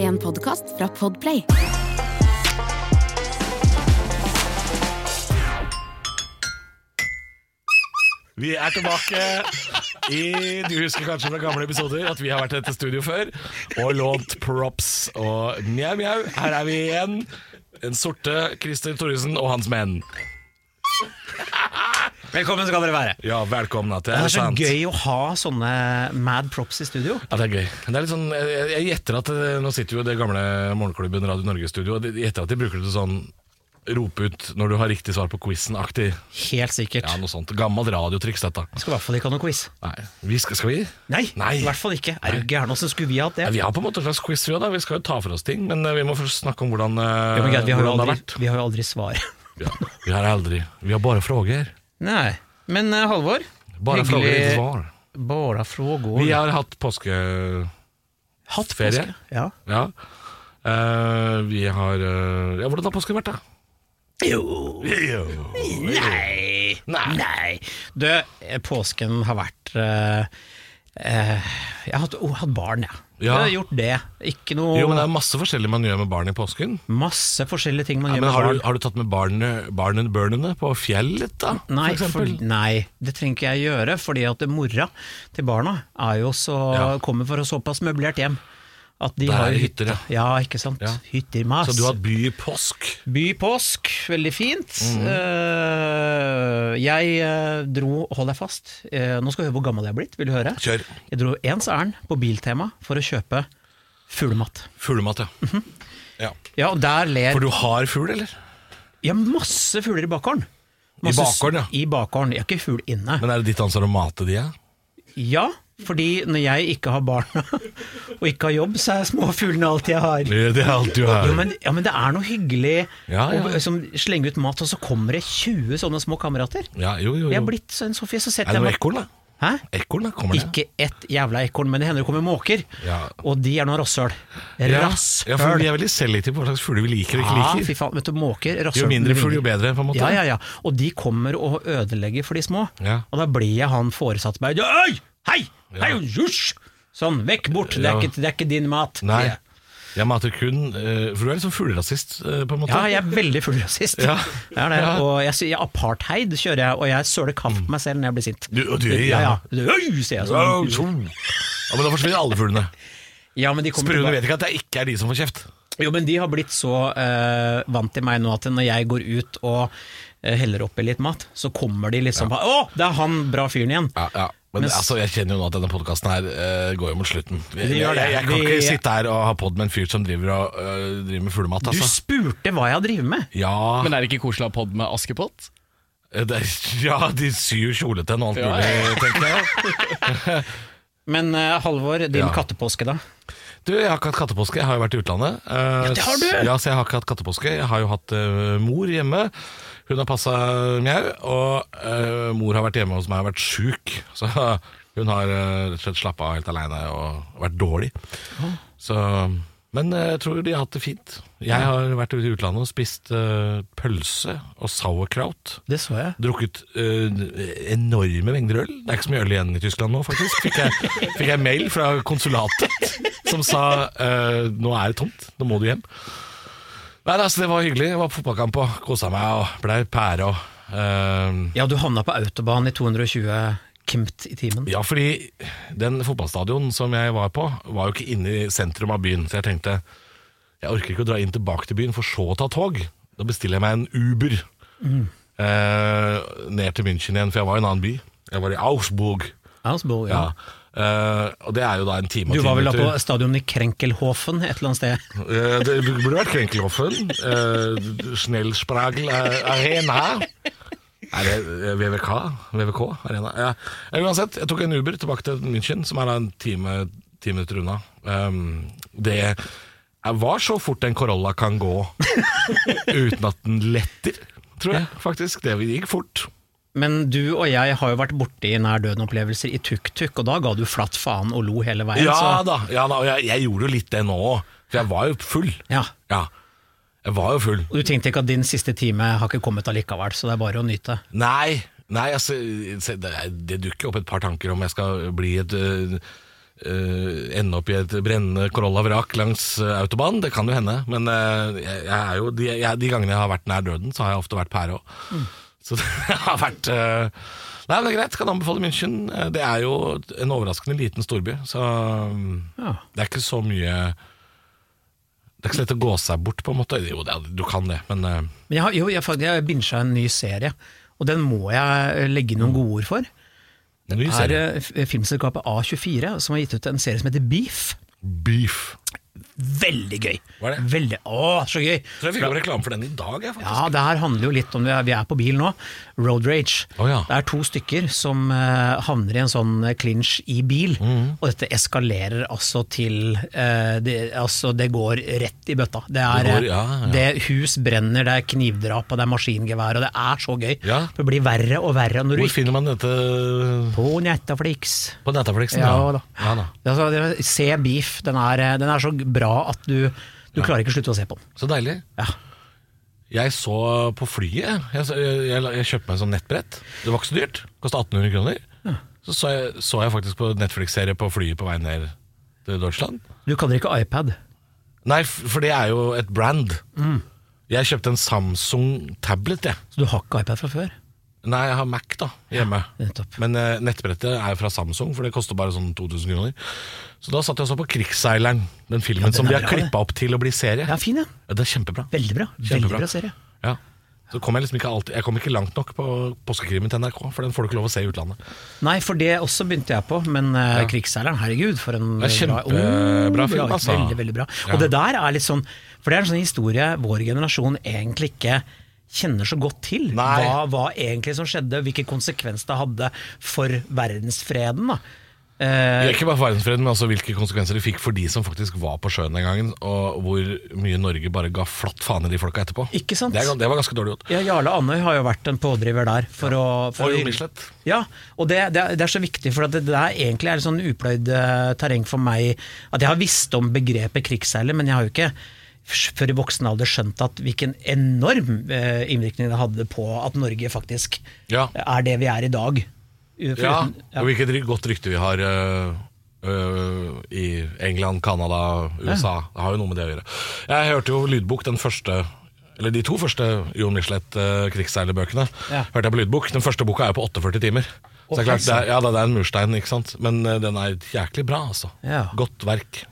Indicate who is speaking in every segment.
Speaker 1: En podkast fra Podplay.
Speaker 2: Vi er tilbake i Du husker kanskje fra gamle episoder at vi har vært i dette studio før og lånt props og mjau, mjau. Her er vi igjen. Den sorte Christer Thoresen og hans menn.
Speaker 3: Velkommen skal dere være.
Speaker 2: Ja, velkomna til
Speaker 3: Det er så
Speaker 2: sant?
Speaker 3: gøy å ha sånne mad props i studio.
Speaker 2: Ja, det er gøy. Det er litt sånn, jeg, jeg- jeg gjetter at eh, Nå sitter jo det gamle Morgenklubben Radio Norge-studio, og de- jeg gjetter at de bruker det til sånn rope ut når du har riktig svar på quizen-aktig.
Speaker 3: Helt sikkert.
Speaker 2: Ja, noe sånt. Gammelt radiotriks, dette.
Speaker 3: Vi skal i hvert fall ikke ha noen quiz.
Speaker 2: Nei, vi skal, skal vi?
Speaker 3: Nei,
Speaker 2: Nei.
Speaker 3: i hvert fall ikke. Er du gæren, åssen skulle vi hatt det?
Speaker 2: Ja, vi har på en måte en slags quiz, vi òg. Vi skal jo ta for oss ting. Men eh, vi må først snakke om hvordan, eh,
Speaker 3: Jo, men greit, vi, har jo
Speaker 2: hvordan det har vært.
Speaker 3: aldri, vi har jo aldri svar.
Speaker 2: Ja, vi har aldri Vi har bare spørsmål.
Speaker 3: Nei. Men eh, Halvor,
Speaker 2: Bare
Speaker 3: Hyggelig.
Speaker 2: spørsmål, ikke svar.
Speaker 3: bare frågor.
Speaker 2: Vi har hatt påskeferie.
Speaker 3: hatt påske. Ja.
Speaker 2: Ja. Eh, vi har eh, Ja, hvordan har påsken vært, da?
Speaker 3: Jo Nei.
Speaker 2: Nei.
Speaker 3: Du, eh, påsken har vært eh, eh, Jeg har hatt, oh, hatt barn, jeg.
Speaker 2: Ja.
Speaker 3: Jeg har gjort det. Ikke noe
Speaker 2: Jo, men Det er masse forskjellig man gjør med barn i påsken.
Speaker 3: Masse forskjellige ting
Speaker 2: Ja,
Speaker 3: man gjør
Speaker 2: men
Speaker 3: med
Speaker 2: har,
Speaker 3: barn.
Speaker 2: du, har du tatt med barnet- barnen børnene på fjellet, da?
Speaker 3: Nei,
Speaker 2: for
Speaker 3: for,
Speaker 2: eksempel?
Speaker 3: nei, det trenger ikke jeg gjøre, fordi at mora til barna er jo så,
Speaker 2: Ja.
Speaker 3: kommer fra såpass møblert hjem. At de
Speaker 2: Der
Speaker 3: har
Speaker 2: er
Speaker 3: jo
Speaker 2: det hytter,
Speaker 3: hytte. Ja, ikke sant.
Speaker 2: Ja.
Speaker 3: Hytter mas.
Speaker 2: Så du har hatt bypåsk?
Speaker 3: Bypåsk, veldig fint.
Speaker 2: Mhm.
Speaker 3: Eh, jeg eh, dro, hold deg fast, eh, nå skal du høre hvor gammel jeg er blitt, vil du høre?
Speaker 2: Kjør.
Speaker 3: Jeg dro ens ærend på Biltema for å kjøpe fuglemat.
Speaker 2: Fuglemat, ja.
Speaker 3: Mhm.
Speaker 2: ja.
Speaker 3: Ja, og der ler
Speaker 2: For du har fugl, eller?
Speaker 3: Ja, masse fugler i bakgården.
Speaker 2: I bakgården, ja.
Speaker 3: I bakgården, jeg har ikke fugl inne.
Speaker 2: Men er det ditt ansvar å mate de, ja?
Speaker 3: Ja, fordi når jeg ikke har barna og ikke har jobb, så er småfuglene alt jeg har.
Speaker 2: Det er alt du
Speaker 3: Jo,
Speaker 2: har.
Speaker 3: men, ja, men det er noe hyggelig
Speaker 2: Ja, ja.
Speaker 3: å liksom, slenge ut mat, og så kommer det 20 sånne små kamerater.
Speaker 2: Ja, jo, jo, jo.
Speaker 3: Jeg er blitt sånn, Sofie, så
Speaker 2: Er
Speaker 3: setter
Speaker 2: det
Speaker 3: jeg
Speaker 2: noe
Speaker 3: meg
Speaker 2: ekorn, da?
Speaker 3: Hæ?
Speaker 2: Ekorn, da? Kommer det?
Speaker 3: Ikke ett jævla ekorn, men det hender det kommer måker.
Speaker 2: Ja.
Speaker 3: Og de er noe rasshøl.
Speaker 2: Ja.
Speaker 3: Rasshøl!
Speaker 2: Ja, for vi er veldig selektive på hva slags fugler vi liker og ikke
Speaker 3: Ja, fy
Speaker 2: liker.
Speaker 3: faen. Vet du, måker,
Speaker 2: Ah.
Speaker 3: rasshøl
Speaker 2: Jo mindre fugl, jo bedre, på en måte.
Speaker 3: Ja, ja, ja. Og de kommer og ødelegger for de små.
Speaker 2: Ja.
Speaker 3: Og da blir jeg han foresatt meg. Øy! Hei! Hei! Hysj! Sånn, vekk bort! Det er,
Speaker 2: Ja.
Speaker 3: ikke, det er ikke din mat.
Speaker 2: Nei, jeg mater kun eh, For du er litt sånn fuglerasist, eh, på en måte.
Speaker 3: Ja, jeg er veldig full rasist.
Speaker 2: Ja.
Speaker 3: Jeg er det.
Speaker 2: Ja.
Speaker 3: Og jeg, sier- apartheid kjører jeg, og jeg søler kaffe på meg selv når jeg blir sint.
Speaker 2: Du, og du, ja.
Speaker 3: ja, ja. Du, Øy, sier jeg
Speaker 2: Ja,
Speaker 3: sånn.
Speaker 2: tjo. ja, men da forsvinner alle fuglene.
Speaker 3: Ja, men de kommer
Speaker 2: Spruene
Speaker 3: tilbake.
Speaker 2: vet ikke at det ikke er de som får kjeft.
Speaker 3: Jo, men de har blitt så eh, vant til meg nå at når jeg går ut og eh, heller oppi litt mat, så kommer de liksom bare Å, det er han bra fyren igjen!
Speaker 2: Ja, ja. Men,
Speaker 3: Men s-
Speaker 2: altså, jeg kjenner jo nå at denne podkasten her eh, går jo mot slutten. Jeg,
Speaker 3: Det
Speaker 2: jeg,
Speaker 3: gjør det.
Speaker 2: jeg, kan
Speaker 3: Vi-
Speaker 2: ikke sitte her og ha pod med en fyr som driver, og, eh, driver med fuglemat,
Speaker 3: Du
Speaker 2: altså.
Speaker 3: spurte hva jeg driver med!
Speaker 2: Ja,
Speaker 4: Men er det ikke koselig å ha podd med Askepott?
Speaker 2: eh, det, er- ja, de syr kjolete og alt
Speaker 4: Ja.
Speaker 2: mulig, tenker jeg.
Speaker 3: Men eh, Halvor, din
Speaker 2: Ja.
Speaker 3: kattepåske da?
Speaker 2: Du, jeg har ikke hatt kattepåske, jeg har jo vært i utlandet. ja,
Speaker 3: det har du!
Speaker 2: Ja, så jeg har ikke hatt kattepåske. Jeg har jo hatt eh, mor hjemme. Hun har passa mjau, og eh, mor har vært hjemme hos meg og vært sjuk. Så hun har eh, rett og slett slappa av helt aleine og vært dårlig. Så, men eh, jeg tror de har hatt det fint. Jeg har vært ute i utlandet og spist eh, pølse og sauerkraut.
Speaker 3: Det så jeg.
Speaker 2: Drukket eh, enorme mengder øl. Det er ikke så mye øl igjen i Tyskland nå, faktisk. Fikk jeg, fikk jeg mail fra konsulatet som sa eh, nå er det tomt, nå må du hjem. Nei, altså, Det var hyggelig. Det var fotballkamp og kosa meg og blei pære og eh,
Speaker 3: Ja, du havna på autobahn i 220 kimt i timen.
Speaker 2: Ja, fordi den fotballstadion som jeg var på, var jo ikke inne i sentrum av byen. Så jeg tenkte jeg orker ikke å dra inn tilbake til byen for så å ta tog. Da bestiller jeg meg en Uber eh, ned til München igjen, for jeg var i en annen by. Jeg var i Augsburg.
Speaker 3: Augsburg,
Speaker 2: Ja.
Speaker 3: ja.
Speaker 2: Eh, og det er jo da en time og
Speaker 3: Du
Speaker 2: ti
Speaker 3: var vel da
Speaker 2: minutter.
Speaker 3: på stadion i Krenkelhofen et eller annet sted?
Speaker 2: Eh, Det burde vært Krenkeloffen. Uh, Snellspragel eh, Arena. Er det eh, VVK? VVK Arena? Ja. Eh, Uansett, jeg tok en Uber tilbake til München, som er da en time, ti minutter unna. Ehm, det er- var så fort en Corolla kan gå uten at den letter, tror jeg faktisk. Det gikk fort.
Speaker 3: Men du og jeg har jo vært borti nær døden-opplevelser i tuk-tuk, og da ga du flatt faen og lo hele veien.
Speaker 2: Ja
Speaker 3: så-
Speaker 2: da, ja da og jeg, jeg gjorde jo litt det nå òg, for jeg var jo full.
Speaker 3: Ja.
Speaker 2: Ja, jeg var jo full.
Speaker 3: Og du tenkte ikke at din siste time har ikke kommet allikevel, så det er bare å nyte.
Speaker 2: Nei, nei altså, se, det, er- det dukker opp et par tanker om jeg skal bli et øh, øh, Ende opp i et brennende Corolla-vrak langs øh, autobahn. Det kan jo hende. Men øh, jeg, jeg er jo, de, jeg, de gangene jeg har vært nær døden, så har jeg ofte vært pære òg. Så det har vært øh, Nei, men det er greit. Kan anbefale München. Eh, Det er jo en overraskende liten storby, så øh,
Speaker 3: Ja.
Speaker 2: det er ikke så mye Det er ikke så lett å gå seg bort, på en måte. Jo, det, er- du kan det, men øh,
Speaker 3: Men jeg, har- jo, jeg, faktisk- jeg binsja en ny serie, og den må jeg legge noen gode ord for.
Speaker 2: det er mye
Speaker 3: er
Speaker 2: serier.
Speaker 3: eh, f- filmselskapet A24 som har gitt ut en serie som heter Beef.
Speaker 2: Beef.
Speaker 3: Veldig gøy!
Speaker 2: Hva er det?
Speaker 3: Veldig, å, så gøy!
Speaker 2: Tror jeg fikk jo reklame for den i dag, jeg, faktisk.
Speaker 3: Ja, det her handler jo litt om det vi er på bil nå. Road rage.
Speaker 2: Å ja.
Speaker 3: Det er to stykker som eh, havner i en sånn eh, clinch i bil,
Speaker 2: Mhm.
Speaker 3: og dette eskalerer altså til eh, det, Altså, det går rett i bøtta. Det er
Speaker 2: Det går-
Speaker 3: eh,
Speaker 2: ja, ja.
Speaker 3: det hus brenner, det er knivdrap, og det er maskingevær, og det er så gøy.
Speaker 2: Ja.
Speaker 3: Det blir verre og verre når du
Speaker 2: Hvor
Speaker 3: ikke
Speaker 2: finner man dette
Speaker 3: På Netflix.
Speaker 2: på Netflixen?
Speaker 3: Ja da.
Speaker 2: Ja, da.
Speaker 3: Altså, det- se Beef, den er, eh, den er så bra at du, du klarer ikke å slutte å se på den.
Speaker 2: Så deilig.
Speaker 3: Ja.
Speaker 2: Jeg så på flyet. Jeg, så- jeg, jeg, jeg kjøpte meg en sånn nettbrett. Det var ikke så dyrt. Kosta 1800 kroner. Så så jeg, så jeg faktisk på Netflix-serie på flyet på vei ned til Deutschland.
Speaker 3: Du kaller det ikke iPad.
Speaker 2: Nei, f- for det er jo et brand.
Speaker 3: Mm.
Speaker 2: Jeg kjøpte en Samsung tablet, jeg.
Speaker 3: Så du har ikke iPad fra før?
Speaker 2: Nei, jeg har Mac da, hjemme.
Speaker 3: nettopp.
Speaker 2: Men eh, nettbrettet er fra Samsung, for det koster bare sånn 2000 kroner. Så da satt jeg og så på Krigsseileren, den filmen
Speaker 3: Ja, den
Speaker 2: som
Speaker 3: er
Speaker 2: de har
Speaker 3: bra, det.
Speaker 2: klippa opp til å bli serie.
Speaker 3: Ja, fin, ja.
Speaker 2: Ja, det er kjempebra.
Speaker 3: Veldig bra.
Speaker 2: Kjempebra.
Speaker 3: Veldig bra serie.
Speaker 2: Ja. Så kom jeg liksom ikke alltid Jeg kom ikke langt nok på påskekrimen til NRK, for den får du ikke lov å se i utlandet.
Speaker 3: Nei, for det også begynte jeg på, men uh, Krigsseileren, herregud, for en
Speaker 2: Det er kjempebra
Speaker 3: bra-
Speaker 2: film, altså.
Speaker 3: Veldig, veldig bra.
Speaker 2: Ja.
Speaker 3: Og det der er litt sånn For det er en sånn historie vår generasjon egentlig ikke kjenner så godt til.
Speaker 2: Nei.
Speaker 3: Hva var egentlig som skjedde, hvilke konsekvens det hadde for verdensfreden, da. Eh,
Speaker 2: Ikke bare for verdensfreden, men også hvilke konsekvenser det fikk for de som faktisk var på sjøen den gangen, og hvor mye Norge bare ga flatt faen i de folka etterpå.
Speaker 3: Ikke sant?
Speaker 2: Det, er, det var ganske dårlig gjort.
Speaker 3: ja, Jarle Andøy har jo vært en pådriver der. For å, for
Speaker 2: Og
Speaker 3: å-
Speaker 2: Jo Michelet.
Speaker 3: Ja, og det, det, er- det er så viktig, for at det, det er egentlig er et sånn upløyd eh, terreng for meg. At jeg har visst om begrepet krigsseiler, men jeg har jo ikke f- før i voksen alder skjønt at hvilken enorm eh, innvirkning det hadde på at Norge faktisk
Speaker 2: Ja.
Speaker 3: er det vi er i dag. U-
Speaker 2: Ja,
Speaker 3: foruten- ja.
Speaker 2: og hvilket ry- godt rykte vi har øh, øh, i England, Canada, USA. Det har jo noe med det å gjøre. Jeg hørte jo lydbok den første eller De to første Jon Michelet uh, krigsseilerbøkene
Speaker 3: Ja.
Speaker 2: hørte jeg på lydbok. Den første boka er jo på 48 timer. Så det er klart, det er, ja, det er en murstein, ikke sant? men øh, den er jæklig bra. altså.
Speaker 3: Ja.
Speaker 2: Godt verk.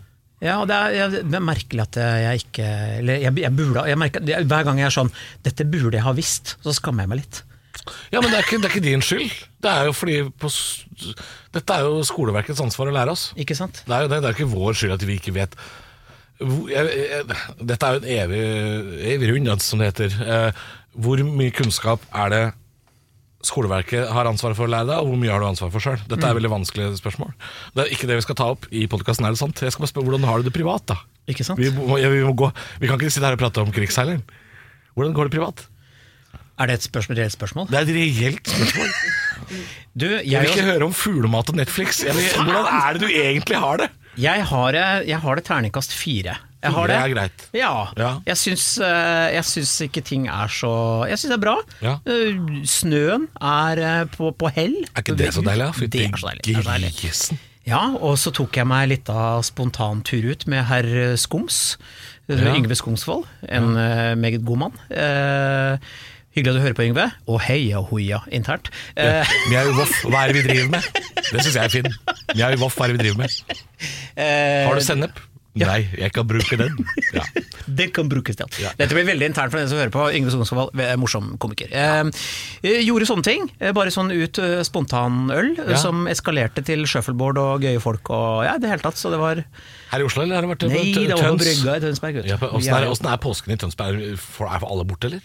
Speaker 3: Ja, og det er, jeg, det er merkelig at jeg ikke Eller jeg, jeg burde jeg merker, jeg, Hver gang jeg er sånn 'Dette burde jeg ha visst', så skammer jeg meg litt.
Speaker 2: Ja, men det er, ikke, det er ikke din skyld. Det er jo fordi på, s- Dette er jo skoleverkets ansvar å lære oss.
Speaker 3: Ikke sant?
Speaker 2: Det er jo det, det er ikke vår skyld at vi ikke vet Hvor- jeg, jeg, Dette er jo en evig, evig runddans, som det heter. Eh, hvor mye kunnskap er det skoleverket har ansvaret for å lære deg, og hvor mye har du ansvar for sjøl? Dette er
Speaker 3: Mm.
Speaker 2: veldig vanskelige spørsmål. Det er ikke det vi skal ta opp i podkasten, er det sant? Jeg skal bare spørre hvordan har du det privat, da?
Speaker 3: Ikke sant?
Speaker 2: Vi, må, ja, vi, må gå. vi kan ikke sitte her og prate om krigsseileren. Hvordan går det privat?
Speaker 3: Er det et spørsmål? reelt spørsmål?
Speaker 2: Det er et reelt spørsmål.
Speaker 3: Du, jeg,
Speaker 2: Jeg vil ikke høre om fuglemat og Netflix. Jeg vil, hvordan er det du egentlig har det?
Speaker 3: Jeg har, eh, jeg har det terningkast fire. Jeg har
Speaker 2: Fire er greit.
Speaker 3: Ja.
Speaker 2: Ja.
Speaker 3: Jeg, syns, eh, jeg syns ikke ting er så Jeg syns det er bra.
Speaker 2: Ja.
Speaker 3: Eh, Snøen er eh, på, på hell.
Speaker 2: Er ikke det så deilig? da? Fytti
Speaker 3: Det er så deilig. Det er så deilig.
Speaker 2: grisen.
Speaker 3: Ja, og så tok jeg meg litt av spontantur ut med herr eh, Skums. eh,
Speaker 2: Ja.
Speaker 3: Yngve Skomsvold, en eh, meget god mann. Eh, hyggelig at du hører på, Yngve. Og heia hoia internt. Eh,
Speaker 2: Mjau voff, hva er det vi driver med? Det syns jeg er fin. Mjau voff, hva er det vi driver med?
Speaker 3: eh,
Speaker 2: Har du sennep? Nei, jeg kan bruke den. Ja.
Speaker 3: Det kan brukes til alt. Dette blir veldig internt for den som hører på. Yngve Sognsvold, eh, morsom komiker. Eh, eh, gjorde sånne ting. eh, Bare sånn ut eh, spontanøl, eh,
Speaker 2: Ja.
Speaker 3: som eskalerte til shuffleboard og gøye folk og ja, i det hele tatt. Så det var
Speaker 2: Her i Oslo, eller har det vært
Speaker 3: Nei,
Speaker 2: Tø-
Speaker 3: det var på
Speaker 2: Tøns?
Speaker 3: brygga i Tønsberg.
Speaker 2: Ja, men
Speaker 3: Gutt.
Speaker 2: Åssen er, åssen er påsken i Tønsberg? Er for- er alle borte, eller?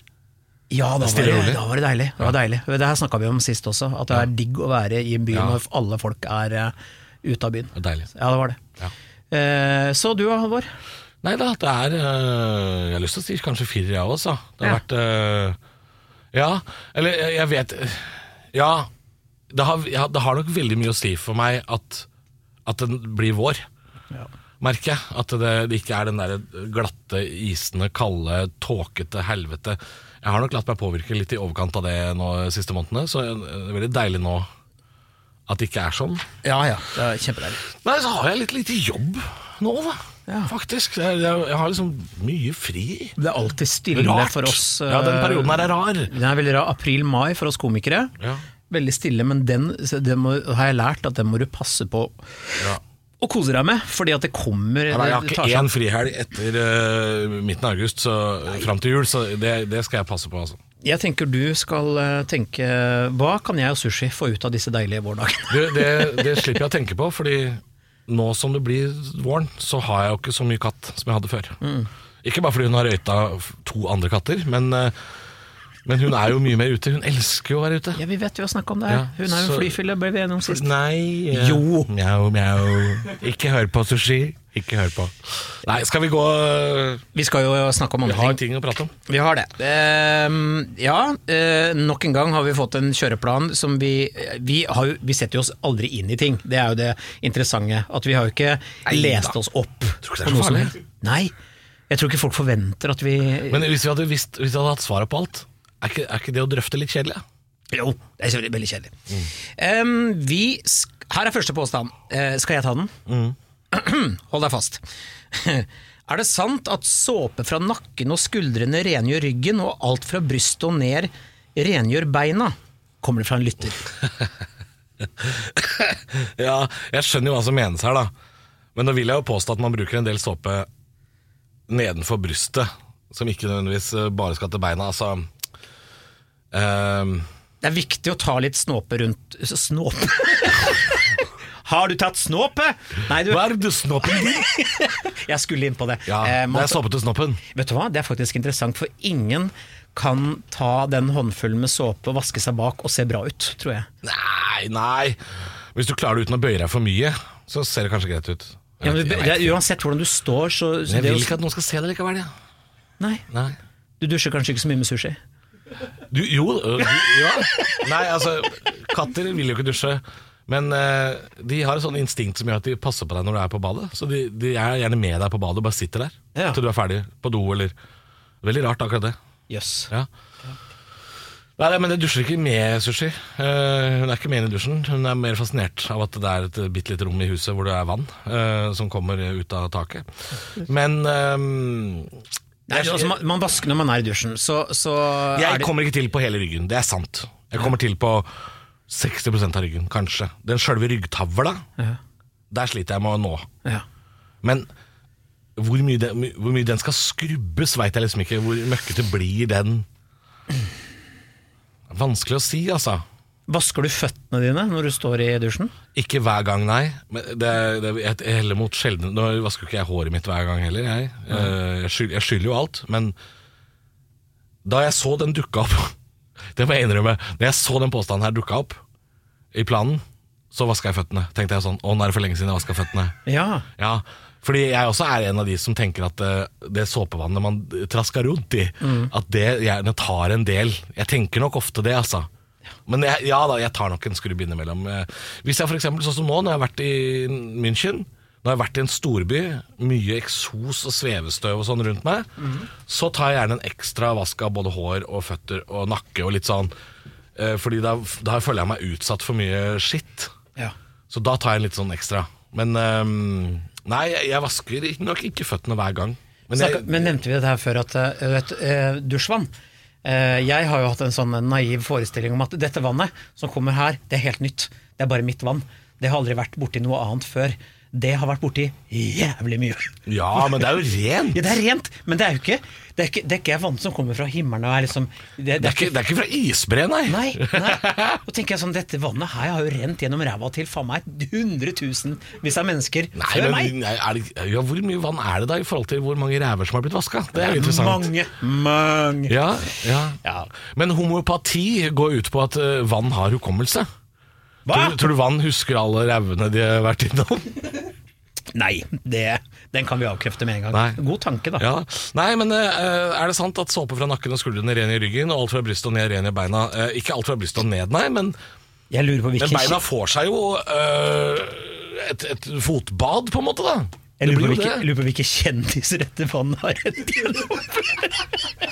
Speaker 3: Ja, da var,
Speaker 2: Stille og rolig.
Speaker 3: det, da var det deilig. Det, var deilig. det her snakka vi om sist også, at det er digg å være i en by
Speaker 2: Ja.
Speaker 3: når alle folk er eh, ute av byen.
Speaker 2: Det er deilig.
Speaker 3: Ja, det var det.
Speaker 2: Ja.
Speaker 3: Eh, så du, Halvor?
Speaker 2: Nei da, det er øh, Jeg har lyst til å si kanskje firer, jeg også. Det har
Speaker 3: Ja.
Speaker 2: vært øh, Ja, eller eh, jeg, jeg vet Ja, det har, ja, det har nok veldig mye å si for meg at, at den blir vår. Merker jeg. At det, det ikke er den der glatte, isende, kalde, tåkete helvete. Jeg har nok latt meg påvirke litt i overkant av det nå de siste månedene, så øh, det er veldig deilig nå at det ikke er sånn.
Speaker 3: Ja ja, det er kjempedeilig.
Speaker 2: Nei, så har jeg litt lite jobb nå, da. Faktisk. Jeg, jeg, jeg har liksom mye fri.
Speaker 3: Det er alltid stille
Speaker 2: Rart.
Speaker 3: for oss. eh,
Speaker 2: Ja, den perioden her er rar.
Speaker 3: Den er veldig rar. April-mai for oss komikere.
Speaker 2: Ja.
Speaker 3: Veldig stille, men den, den må, har jeg lært at den må du passe på
Speaker 2: Ja.
Speaker 3: å kose deg med, fordi at det kommer
Speaker 2: Nei, jeg har
Speaker 3: det
Speaker 2: ikke
Speaker 3: tar seg-
Speaker 2: én frihelg etter eh, midten av august så, fram til jul, så det, det skal jeg passe på. Altså.
Speaker 3: Jeg tenker du skal eh, tenke Hva kan jeg og sushi få ut av disse deilige vårdagene?
Speaker 2: Du, det, det slipper jeg å tenke på, fordi nå som det blir våren, så har jeg jo ikke så mye katt som jeg hadde før.
Speaker 3: Mm.
Speaker 2: Ikke bare fordi hun har røyta f- to andre katter, men, eh, men hun er jo mye mer ute. Hun elsker jo å være ute.
Speaker 3: Ja, Vi vet vi har snakka om det
Speaker 2: Ja,
Speaker 3: her. Hun er jo
Speaker 2: så-
Speaker 3: en flyfylle, ble vi enige om sist.
Speaker 2: Nei eh,
Speaker 3: Jo.
Speaker 2: Mjau, mjau. Ikke hør på sushi. Ikke hør på. Nei, skal vi gå eh,
Speaker 3: Vi skal jo snakke om
Speaker 2: Vi
Speaker 3: andre
Speaker 2: har
Speaker 3: ting.
Speaker 2: ting å prate om.
Speaker 3: Vi har det. Ehm, ja, eh, nok en gang har vi fått en kjøreplan som vi vi, har jo, vi setter jo oss aldri inn i ting. Det er jo det interessante. At vi har jo ikke lest oss opp.
Speaker 2: Tror ikke det er så
Speaker 3: på noe som
Speaker 2: farlig.
Speaker 3: helst. Nei. Jeg tror ikke folk forventer at vi
Speaker 2: Men hvis vi hadde, visst, hvis vi hadde hatt svaret på alt, er ikke, er ikke det å drøfte litt kjedelig? da?
Speaker 3: Jo, det er selvfølgelig veldig kjedelig. Ehm, vi sk Her er første påstand. Eh, skal jeg ta den? Hold deg fast. er det sant at såpe fra nakken og skuldrene rengjør ryggen, og alt fra brystet og ned rengjør beina? Kommer det fra en lytter.
Speaker 2: Ja, jeg skjønner jo hva som menes her, da. Men nå vil jeg jo påstå at man bruker en del såpe nedenfor brystet, som ikke nødvendigvis eh, bare skal til beina. Altså ehm,
Speaker 3: Det er viktig å ta litt snåpe rundt så Snåpe? Har du tatt snåpe? Nei, du,
Speaker 2: Hva er dussnoppen din?
Speaker 3: jeg skulle inn på det.
Speaker 2: Ja,
Speaker 3: Eh,
Speaker 2: det
Speaker 3: man-
Speaker 2: er såpe til snoppen.
Speaker 3: Vet du hva, det er faktisk interessant, for ingen kan ta den håndfullen med såpe og vaske seg bak og se bra ut, tror jeg.
Speaker 2: Nei, nei. Hvis du klarer det uten å bøye deg for mye, så ser det kanskje greit ut.
Speaker 3: Ja, men,
Speaker 2: jeg,
Speaker 3: det,
Speaker 2: vet ikke.
Speaker 3: er- uansett hvordan du står, så,
Speaker 2: Men
Speaker 3: så
Speaker 2: jeg
Speaker 3: det, er
Speaker 2: vil
Speaker 3: jo-
Speaker 2: ikke at noen skal se det likevel. Ja.
Speaker 3: Nei,
Speaker 2: Nei.
Speaker 3: Du dusjer kanskje ikke så mye med sushi?
Speaker 2: Du, jo, øh, du, ja. Nei, altså, katter vil jo ikke dusje. Men øh, de har et sånt instinkt som gjør at de passer på deg når du er på badet. Så de, de er gjerne med deg på badet og bare sitter der
Speaker 3: Ja.
Speaker 2: til du er ferdig på do eller Veldig rart, akkurat det.
Speaker 3: Jøss.
Speaker 2: Ja. Nei, nei, men jeg dusjer ikke med sushi. Eh, hun er ikke med inn i dusjen. Hun er mer fascinert av at det er et bitte lite rom i huset hvor det er vann eh, som kommer ut av taket. Men ehm,
Speaker 3: Nei,
Speaker 2: jeg,
Speaker 3: altså,
Speaker 2: jeg,
Speaker 3: man, man vasker når man er i dusjen, så, så er det
Speaker 2: kommer ikke til på hele ryggen, det er sant. Jeg kommer til på 60 av ryggen, kanskje. Den sjølve ryggtavla,
Speaker 3: Ja.
Speaker 2: der sliter jeg med å nå.
Speaker 3: ja.
Speaker 2: Men hvor mye, den, hvor mye den skal skrubbes, veit jeg liksom ikke. Hvor møkkete blir den? Vanskelig å si, altså.
Speaker 3: Vasker du føttene dine når du står i dusjen?
Speaker 2: Ikke hver gang, nei. Men det, det, jeg heller mot sjelden Nå vasker jo ikke jeg håret mitt hver gang heller, jeg. Eh, Jeg skyld- jeg skylder jo alt. Men da jeg så den dukka opp Det må jeg innrømme. Da jeg så den påstanden her dukka opp i planen, så vaska jeg føttene. Tenkte jeg sånn Å, nå er det for lenge siden jeg vaska føttene.
Speaker 3: Ja.
Speaker 2: Ja, fordi jeg også er en av de som tenker at eh, det såpevannet man trasker rundt i, at det gjerne tar en del. Jeg tenker nok ofte det, altså. Men jeg, ja da, jeg tar nok en skrubb innimellom. Eh, Hvis jeg for eksempel, sånn som nå, når jeg har vært i München, når jeg har vært i en storby, mye eksos og svevestøv og sånn rundt meg, så tar jeg gjerne en ekstra vask av både hår og føtter og nakke og litt sånn. Eh, Fordi da, da føler jeg meg utsatt for mye skitt.
Speaker 3: ja.
Speaker 2: Så da tar jeg en litt sånn ekstra. Men øhm, nei, jeg, jeg vasker ikke- nok ikke føttene hver gang. Men
Speaker 3: Men,
Speaker 2: jeg,
Speaker 3: men nevnte vi dette her før, at eh, vet, eh, dusjvann eh, Jeg har jo hatt en sånn naiv forestilling om at dette vannet som kommer her, det er helt nytt. Det er bare mitt vann. Det har aldri vært borti noe annet før. Det har vært borti jævlig mye.
Speaker 2: ja, men det er jo rent!
Speaker 3: Ja, det er rent, men det er jo ikke Det er ikke, det er ikke vann som kommer fra himmelen og er liksom Det,
Speaker 2: Det er ikke, det er ikke fra isbre, nei.
Speaker 3: Nei, nei. Og tenker jeg sånn, dette vannet her har jo rent gjennom ræva til faen meg 100 000 hvis det er mennesker
Speaker 2: Nei,
Speaker 3: før meg.
Speaker 2: men, nei, er det, ja, hvor mye vann er det da i forhold til hvor mange ræver som har blitt vaska? Det er jo interessant.
Speaker 3: Mange, mange.
Speaker 2: Ja, ja.
Speaker 3: Ja.
Speaker 2: Men homopati går ut på at øh, vann har hukommelse.
Speaker 3: Hva?
Speaker 2: Tror, du- tror du vann husker alle rævene de har vært innom?
Speaker 3: Nei, det, den kan vi avkrefte med en gang.
Speaker 2: Nei.
Speaker 3: God tanke, da.
Speaker 2: Ja. Nei, men eh, er det sant at såpe fra nakken og skuldrene ren i ryggen, og alt fra brystet og ned ren i beina? Eh, ikke alt fra brystet og ned, nei, men,
Speaker 3: Jeg lurer på
Speaker 2: men
Speaker 3: hvilken
Speaker 2: beina får seg jo eh, et, et fotbad, på en måte, da.
Speaker 3: Jeg
Speaker 2: Det
Speaker 3: lurer på,
Speaker 2: blir jo
Speaker 3: hvilke,
Speaker 2: det.
Speaker 3: lurer på hvilke kjendiser dette vannet har rent gjennom.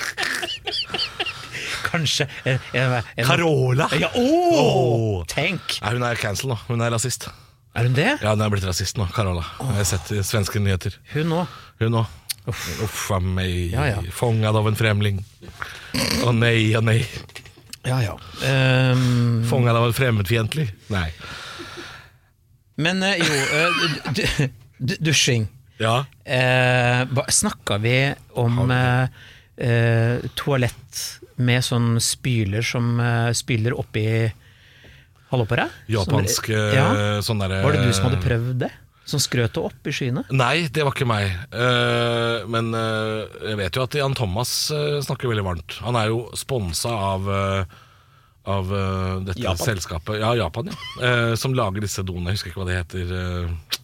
Speaker 3: Kanskje en, en, en,
Speaker 2: Carola.
Speaker 3: Ja, åh,
Speaker 2: Åh.
Speaker 3: Tenk!
Speaker 2: Nei, hun er cancel nå. Hun er rasist.
Speaker 3: Er hun det?
Speaker 2: Ja, hun er blitt rasist nå, Carola. Jeg har sett i svenske nyheter.
Speaker 3: Hun òg.
Speaker 2: Hun òg. Uff a meg.
Speaker 3: Ja, ja.
Speaker 2: Fångad av en fremling. Å nei, å nei.
Speaker 3: Ja, ja. Ehm,
Speaker 2: Fångad av en fremmedfiendtlig. Nei.
Speaker 3: men eh, jo eh, du- du- Dusjing.
Speaker 2: Ja.
Speaker 3: Eh, ba- Snakka vi om eh, eh, toalett med sånn spyler som eh, spyler oppi halvåpera?
Speaker 2: Japansk eh,
Speaker 3: ja.
Speaker 2: sånn derre
Speaker 3: Var det du som hadde prøvd det? Som skrøt det opp i skyene?
Speaker 2: Nei, det var ikke meg. Eh, men eh, jeg vet jo at Jan Thomas eh, snakker veldig varmt. Han er jo sponsa av eh, av eh, dette
Speaker 3: Japan.
Speaker 2: selskapet Ja, Japan, ja. Eh, som lager disse doene. Jeg husker ikke hva det heter. eh.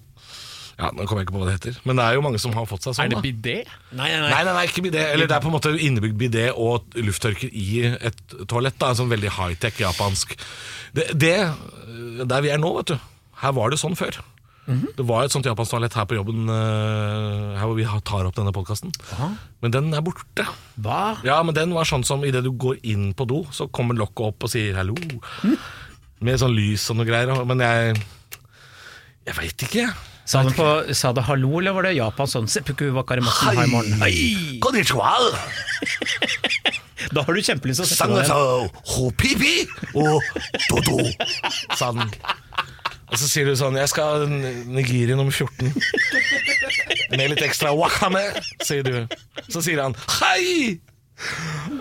Speaker 2: ja, Nå kommer jeg ikke på hva det heter. Men det er jo mange som har fått seg sånn.
Speaker 4: Er det
Speaker 2: da.
Speaker 4: bidé?
Speaker 3: Nei,
Speaker 2: Nei, nei, nei, ikke bidé. Eller det er på en måte innebygd bidé og lufttørker i et toalett. Da. Sånn veldig high-tech japansk. Det, det, øh, der vi er nå, vet du. Her var det sånn før.
Speaker 3: Mhm.
Speaker 2: Det var et sånt japansk toalett her på jobben, eh, her hvor vi har- tar opp denne podkasten. Men den er borte.
Speaker 3: Hva?
Speaker 2: Ja, men den var sånn som idet du går inn på do, så kommer lokket opp og sier hallo.
Speaker 3: Mhm.
Speaker 2: Med sånn lys og noe greier. Men jeg Jeg veit ikke.
Speaker 3: Sa det, på, sa det hallo, eller var det Japan sånn Seppuku wakarimasen ha i morgen? Hei!
Speaker 2: Konnichiwa!
Speaker 3: Da har du kjempelyst til å sette deg ned.
Speaker 2: Sangasa, hopipi og dodo. Sånn. Og så sier du sånn Jeg skal Nigeria nummer 14. Med litt ekstra wakame, sier du. Så sier han hei!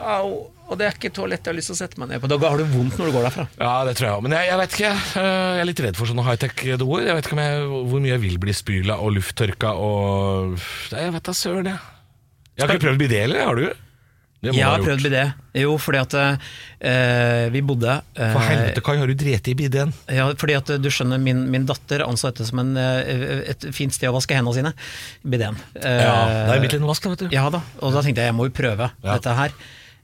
Speaker 3: Au, og det er ikke toalett jeg har lyst til å sette meg ned på. Da har du vondt når du går derfra.
Speaker 2: Ja, det tror jeg òg. Men jeg, jeg vet ikke. Eh, Jeg er litt redd for sånne high-tech-doer. Jeg vet ikke om jeg, hvor mye jeg vil bli spyla og lufttørka og Nei, Jeg vet da søren, jeg. Jeg har ikke prøvd bidé heller, har du? Det må du
Speaker 3: Jeg
Speaker 2: ha
Speaker 3: har
Speaker 2: gjort.
Speaker 3: prøvd bidé. Jo, fordi at eh, vi bodde eh,
Speaker 2: For helvete, Kai, har du dreti i bidéen?
Speaker 3: Ja, fordi at du skjønner, min, min datter anså dette som en, eh, et fint sted å vaske hendene sine. Bideen. Eh,
Speaker 2: Ja, det er mitt lille vask, da, vet du.
Speaker 3: Ja da, og da tenkte jeg jeg må jo prøve
Speaker 2: Ja.
Speaker 3: dette her.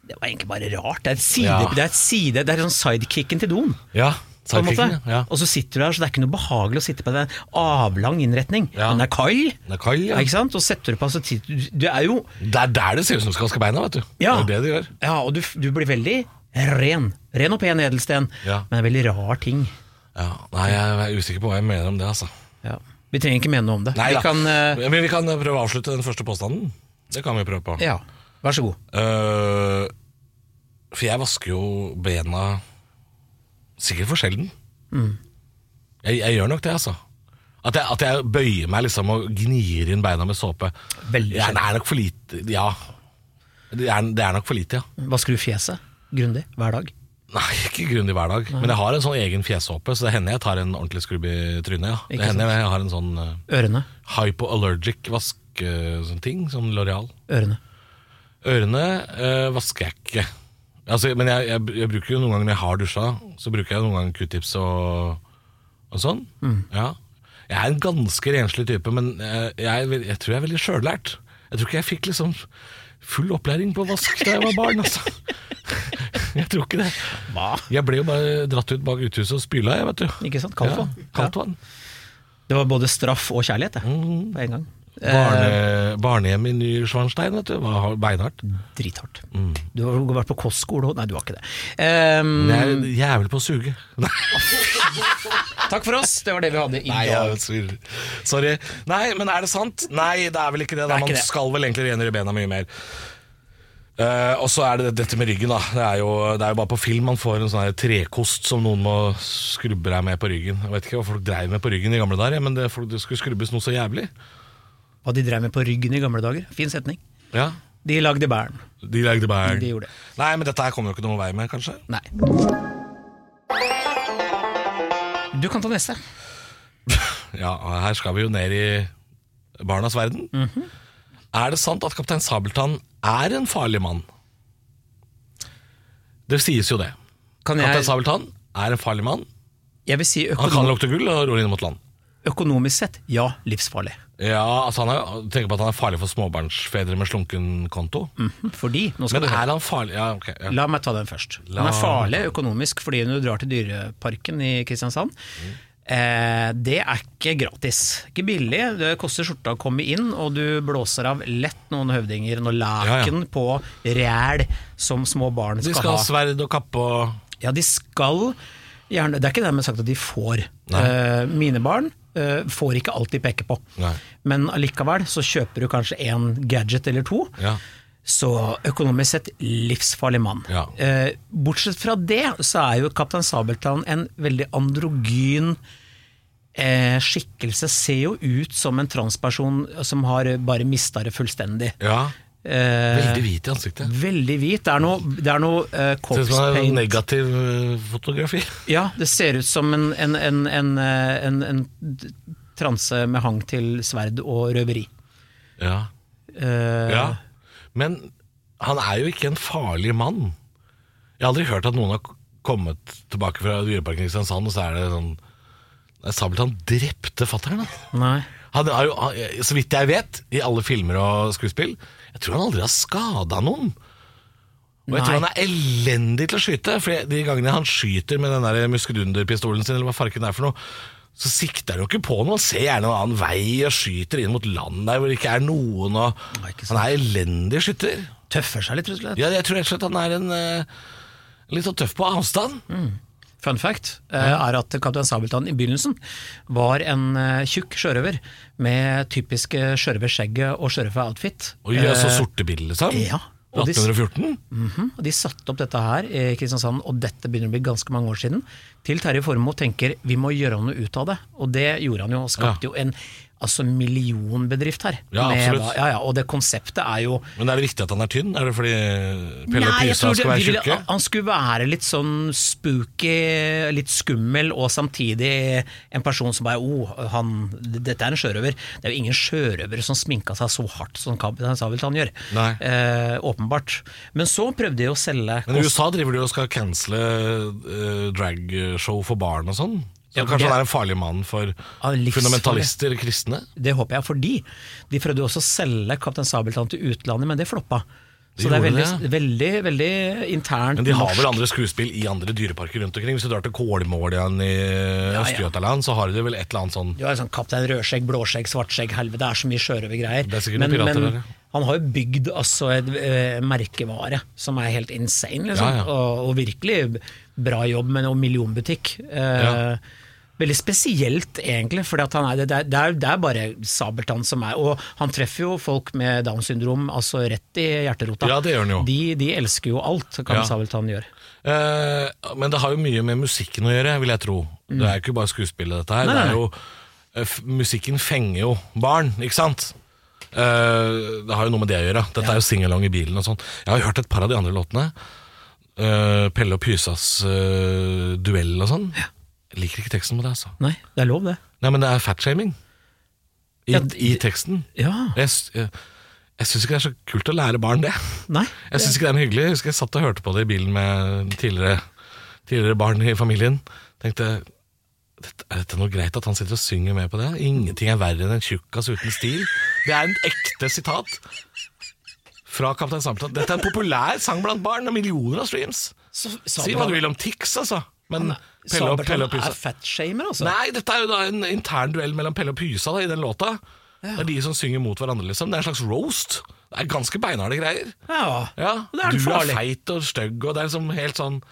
Speaker 3: Det var egentlig bare rart. Det er et side,
Speaker 2: Ja.
Speaker 3: det er et side, det er sånn sidekicken til doen.
Speaker 2: Ja,
Speaker 3: På en måte.
Speaker 2: sidekicken, ja.
Speaker 3: Og så sitter du der, så det er ikke noe behagelig å sitte på den avlang innretning.
Speaker 2: Ja.
Speaker 3: Den er kald,
Speaker 2: Den er kald, ja.
Speaker 3: ikke sant? og setter du på så tid, Du er jo
Speaker 2: Det er der det ser ut som du skal vaske beina, vet du.
Speaker 3: Ja.
Speaker 2: Det er det de gjør.
Speaker 3: Ja, og du, du blir veldig ren. Ren og pen edelsten,
Speaker 2: Ja.
Speaker 3: men en veldig rar ting.
Speaker 2: Ja. Nei, jeg er usikker på hva jeg mener om det, altså.
Speaker 3: Ja. Vi trenger ikke mene noe om det.
Speaker 2: Nei,
Speaker 3: vi
Speaker 2: da.
Speaker 3: kan eh,
Speaker 2: Men vi kan prøve å avslutte den første påstanden. Det kan vi prøve på.
Speaker 3: Ja, vær så god.
Speaker 2: Eh, for jeg vasker jo bena sikkert for sjelden.
Speaker 3: Mm.
Speaker 2: Jeg, jeg gjør nok det, altså. At jeg, at jeg bøyer meg liksom og gnir inn beina med såpe.
Speaker 3: Veldig
Speaker 2: Ja, det er nok for lite, ja. Det er, det er nok for lite, ja.
Speaker 3: Vasker du fjeset grundig hver dag?
Speaker 2: Nei, ikke grundig hver dag. Men jeg har en sånn egen fjesåpe, så det hender jeg tar en ordentlig skrubb i trynet. Ja.
Speaker 3: Ikke
Speaker 2: Det hender jeg har en sånn eh,
Speaker 3: Ørene?
Speaker 2: hypoallergic vasketing, som Loreal.
Speaker 3: Ørene.
Speaker 2: Ørene eh, vasker jeg ikke. Altså, men jeg, jeg, jeg bruker jo noen ganger når jeg har dusja, så bruker jeg noen ganger q-tips og, og sånn. Ja. Jeg er en ganske renslig type, men eh, jeg, er vel- jeg tror jeg er veldig sjøllært. Jeg tror ikke jeg fikk liksom full opplæring på vask da jeg var barn, altså. Jeg tror ikke det.
Speaker 3: Hva?
Speaker 2: Jeg ble jo bare dratt ut bak uthuset og spyla, jeg, vet du.
Speaker 3: Ikke sant? Kaldt vann.
Speaker 2: Ja, kaldt vann.
Speaker 3: Det var både straff og kjærlighet, det. På en gang. Eh,
Speaker 2: Barne, barnehjem i Ny-Svanstein, vet du. Var beinhardt.
Speaker 3: drithardt. Du har jo vært på kostskole òg. Nei, du har ikke det. Ehm,
Speaker 2: Jeg er en jævel på å suge. Nei,
Speaker 3: takk for oss, det var det vi hadde i dag.
Speaker 2: jeg surrer. Sorry. Nei, men er det sant? Nei, det er vel ikke det.
Speaker 3: Det
Speaker 2: Da.
Speaker 3: er ikke
Speaker 2: Man
Speaker 3: det.
Speaker 2: skal vel egentlig rengjøre bena mye mer. Eh, og så er det dette med ryggen, da. Det er, jo, det er jo bare på film man får en sånn her trekost som noen må skrubbe deg med på ryggen. Jeg vet ikke hva folk dreiv med på ryggen i gamle dager, men det, folk, det skulle skrubbes noe så jævlig.
Speaker 3: Hva de drev med på ryggen i gamle dager. Fin setning.
Speaker 2: Ja,
Speaker 3: De lagde bæren.
Speaker 2: De lagde bæren.
Speaker 3: De gjorde det.
Speaker 2: Nei, men dette her kommer jo ikke noen vei med, kanskje.
Speaker 3: Nei. Du kan ta neste.
Speaker 2: Ja, her skal vi jo ned i barnas verden.
Speaker 3: Mhm.
Speaker 2: Er det sant at kaptein Sabeltann er en farlig mann? Det sies jo det.
Speaker 3: Kan
Speaker 2: Kaptein
Speaker 3: jeg,
Speaker 2: Sabeltann er en farlig mann.
Speaker 3: jeg vil si
Speaker 2: Han kan
Speaker 3: økonom...
Speaker 2: lukte gull og ror inn mot land.
Speaker 3: Økonomisk sett, ja, livsfarlig.
Speaker 2: Ja, altså han er, tenker på at han er farlig for småbarnsfedre med slunken konto.
Speaker 3: Fordi nå Mm, skal
Speaker 2: Men
Speaker 3: du
Speaker 2: er
Speaker 3: høre.
Speaker 2: han farlig? Ja, ok. Ja.
Speaker 3: La meg ta den først.
Speaker 2: La
Speaker 3: Den er farlig økonomisk fordi når du drar til Dyreparken i Kristiansand
Speaker 2: Mm.
Speaker 3: eh, Det er ikke gratis. Ikke billig. Det koster skjorta å komme inn, og du blåser av lett noen høvdinger. Noen
Speaker 2: ja.
Speaker 3: laken på ræl som små barn
Speaker 2: De
Speaker 3: skal,
Speaker 2: skal altså- ha
Speaker 3: ha.
Speaker 2: sverd og kappe og
Speaker 3: Ja, de skal gjerne Det er ikke dermed sagt at de får.
Speaker 2: Nei.
Speaker 3: Eh, mine barn eh, får ikke alt de peker på.
Speaker 2: Nei.
Speaker 3: Men allikevel så kjøper du kanskje en gadget eller to.
Speaker 2: Ja.
Speaker 3: Så økonomisk sett livsfarlig mann.
Speaker 2: Ja.
Speaker 3: Eh, bortsett fra det så er jo Kaptein Sabeltann en veldig androgyn eh, skikkelse. Ser jo ut som en transperson som har eh, bare mista det fullstendig.
Speaker 2: Ja.
Speaker 3: Eh,
Speaker 2: Veldig hvit i ansiktet.
Speaker 3: veldig hvit. Det er noe, det er noe eh,
Speaker 2: Ser ut
Speaker 3: corpse
Speaker 2: som han er en
Speaker 3: paint.
Speaker 2: negativ eh, fotografi.
Speaker 3: Ja, det ser ut som en, en, en, en, eh, en, en transe med hang til sverd og røveri.
Speaker 2: Ja.
Speaker 3: Eh,
Speaker 2: ja. Men han er jo ikke en farlig mann. Jeg har aldri hørt at noen har k- kommet tilbake fra Dyreparken i Kristiansand, og så er det sånn Nei, Sabeltann drepte fatter'n, da.
Speaker 3: Nei.
Speaker 2: Han er jo, han- så vidt jeg vet, i alle filmer og skuespill Jeg tror han aldri har skada noen. Og jeg
Speaker 3: Nei.
Speaker 2: tror han er elendig til å skyte. For de gangene han skyter med den der muskedunderpistolen sin, eller hva farken det er for noe, så sikter han jo ikke på noe. Han ser gjerne en annen vei og skyter inn mot land der hvor det ikke er noen. Og
Speaker 3: Nei, ikke
Speaker 2: han er elendig skytter.
Speaker 3: Tøffer seg litt, rett og slett.
Speaker 2: Ja, jeg tror rett og slett han er en eh, litt sånn tøff på avstand.
Speaker 3: Fun fact eh, er at kaptein Sabeltann i begynnelsen var en eh, tjukk sjørøver med typisk eh, sjørøverskjegget og sjørøveroutfit.
Speaker 2: Og gjør så sortebil, liksom.
Speaker 3: Eh, ja. Og de-
Speaker 2: 1814.
Speaker 3: Mhm. Og De satte opp dette her i Kristiansand, og dette begynner å bli ganske mange år siden. Til Terje Formoe tenker vi må gjøre noe ut av det, og det gjorde han jo. Og
Speaker 2: Ja.
Speaker 3: skapte jo en altså, millionbedrift her.
Speaker 2: Ja,
Speaker 3: Med
Speaker 2: absolutt.
Speaker 3: hva- ja, ja, og det konseptet er jo
Speaker 2: Men er det viktig at han er tynn? Er det fordi Pelle og
Speaker 3: Nei, jeg
Speaker 2: Pysa
Speaker 3: tror det-
Speaker 2: skal være
Speaker 3: de ville-
Speaker 2: tjukke?
Speaker 3: Han skulle være litt sånn spooky, litt skummel, og samtidig en person som bare oh, han, dette er en sjørøver. Det er jo ingen sjørøvere som sminka seg så hardt som kaptein Sabeltann gjør.
Speaker 2: Nei.
Speaker 3: Eh, åpenbart. Men så prøvde de å selge
Speaker 2: Men i USA driver de og skal cancele eh, dragshow for barn og sånn. Så
Speaker 3: Ja, men
Speaker 2: kanskje
Speaker 3: det-
Speaker 2: han er en farlig mann for
Speaker 3: livsfarlig.
Speaker 2: fundamentalister, kristne?
Speaker 3: Det håper jeg, fordi de prøvde jo også å selge Kaptein Sabeltann til utlandet, men det floppa.
Speaker 2: De
Speaker 3: Så det er veldig,
Speaker 2: gjorde det,
Speaker 3: veldig, veldig internt
Speaker 2: Men de har vel
Speaker 3: norsk.
Speaker 2: andre skuespill i andre dyreparker rundt omkring. Hvis du drar til Kålmåljan i
Speaker 3: ja.
Speaker 2: Øst-Götaland, så har de vel et eller annet sånn
Speaker 3: Du har jo sånn Kaptein Rødskjegg, Blåskjegg, Svartskjegg, helvete, det er så mye sjørøvergreier.
Speaker 2: Det er sikkert noen pirater der, ja.
Speaker 3: han har jo bygd altså et eh, merkevare som er helt insane, liksom.
Speaker 2: Ja, ja.
Speaker 3: Og, og virkelig bra jobb, men og millionbutikk. Eh,
Speaker 2: Ja.
Speaker 3: Veldig spesielt, egentlig. For han er, det, er, det, er, det er bare Sabeltann som er Og han treffer jo folk med Downs syndrom altså rett i hjerterota.
Speaker 2: Ja, det gjør han jo.
Speaker 3: De, de elsker jo alt, kan
Speaker 2: Ja.
Speaker 3: Sabeltann gjøre.
Speaker 2: Eh, men det har jo mye med musikken å gjøre, vil jeg tro. Det er jo ikke bare skuespillet, dette her.
Speaker 3: Mm. Nei,
Speaker 2: Det
Speaker 3: nei.
Speaker 2: er jo, eh, f musikken fenger jo barn, ikke sant? Eh, det har jo noe med det å gjøre. Dette er jo singalong i bilen og sånn. Jeg har jo hørt et par av de andre låtene. Eh, Pelle og Pysas eh, duell og sånn. Jeg liker ikke teksten på det, altså.
Speaker 3: Nei, det er lov, det.
Speaker 2: Nei, men det er fatshaming i,
Speaker 3: Ja,
Speaker 2: i teksten.
Speaker 3: Ja,
Speaker 2: Jeg, s- jeg, jeg syns ikke det er så kult å lære barn det.
Speaker 3: nei.
Speaker 2: Jeg syns ikke det er noe hyggelig. Jeg husker jeg satt og hørte på det i bilen med tidligere, tidligere barn i familien. Tenkte "Dette- er dette noe greit at han sitter og synger med på det? Ingenting er verre enn en tjukkas uten stil. Det er en ekte sitat fra Kaptein Sabeltann. Dette er en populær sang blant barn. Det er millioner av streams. Si hva du vil om Tix, altså. Men Pelle og, Pelle og
Speaker 3: Sabeltann
Speaker 2: Pysa
Speaker 3: er fatshamer, altså.
Speaker 2: Nei, dette er jo da en intern duell mellom Pelle og Pysa da, i den låta. Det er de som synger mot hverandre, liksom. Det er en slags roast. Det er ganske beinharde greier.
Speaker 3: Ja,
Speaker 2: Ja,
Speaker 3: det er
Speaker 2: du
Speaker 3: farlig.
Speaker 2: er feit og stygg, og det er liksom helt sånn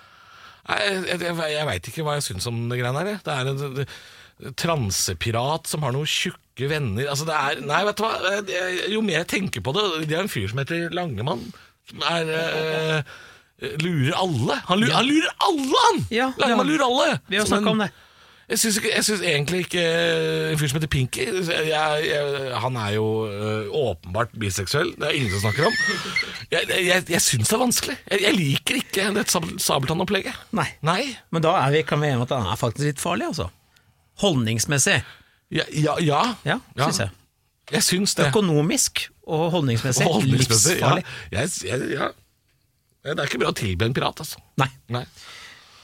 Speaker 2: Nei, jeg, jeg, jeg veit ikke hva jeg syns om det greiene her. jeg. Det er en, en, en transepirat som har noen tjukke venner Altså, det er Nei, vet du hva. Jeg- Jo mer jeg tenker på det Det er en fyr som heter Langemann, som er eh, Lurer alle. Han lurer, han lurer alle, han!
Speaker 3: Ja, det
Speaker 2: Langemann
Speaker 3: har-
Speaker 2: lurer alle!
Speaker 3: Vi har
Speaker 2: Som
Speaker 3: snakket
Speaker 2: en-
Speaker 3: om det.
Speaker 2: jeg syns, ikke, jeg syns egentlig ikke eh, en fyr som heter Pinky jeg, jeg, Han er jo eh, åpenbart biseksuell, det er ingen som snakker om. Jeg, jeg, jeg syns det er vanskelig. Jeg, jeg liker ikke det Sab- Sabeltann-opplegget.
Speaker 3: Nei.
Speaker 2: Nei.
Speaker 3: Men da er vi, kan vi enige om at han er faktisk litt farlig, altså. Holdningsmessig.
Speaker 2: Ja, ja, ja.
Speaker 3: Ja, syns jeg.
Speaker 2: Jeg syns det.
Speaker 3: Økonomisk og holdningsmessig.
Speaker 2: Holdningsmessig,
Speaker 3: Livsfarlig.
Speaker 2: Ja. Jeg, jeg, ja. Det er ikke bra å tilbe en pirat, altså.
Speaker 3: Nei.
Speaker 2: Nei.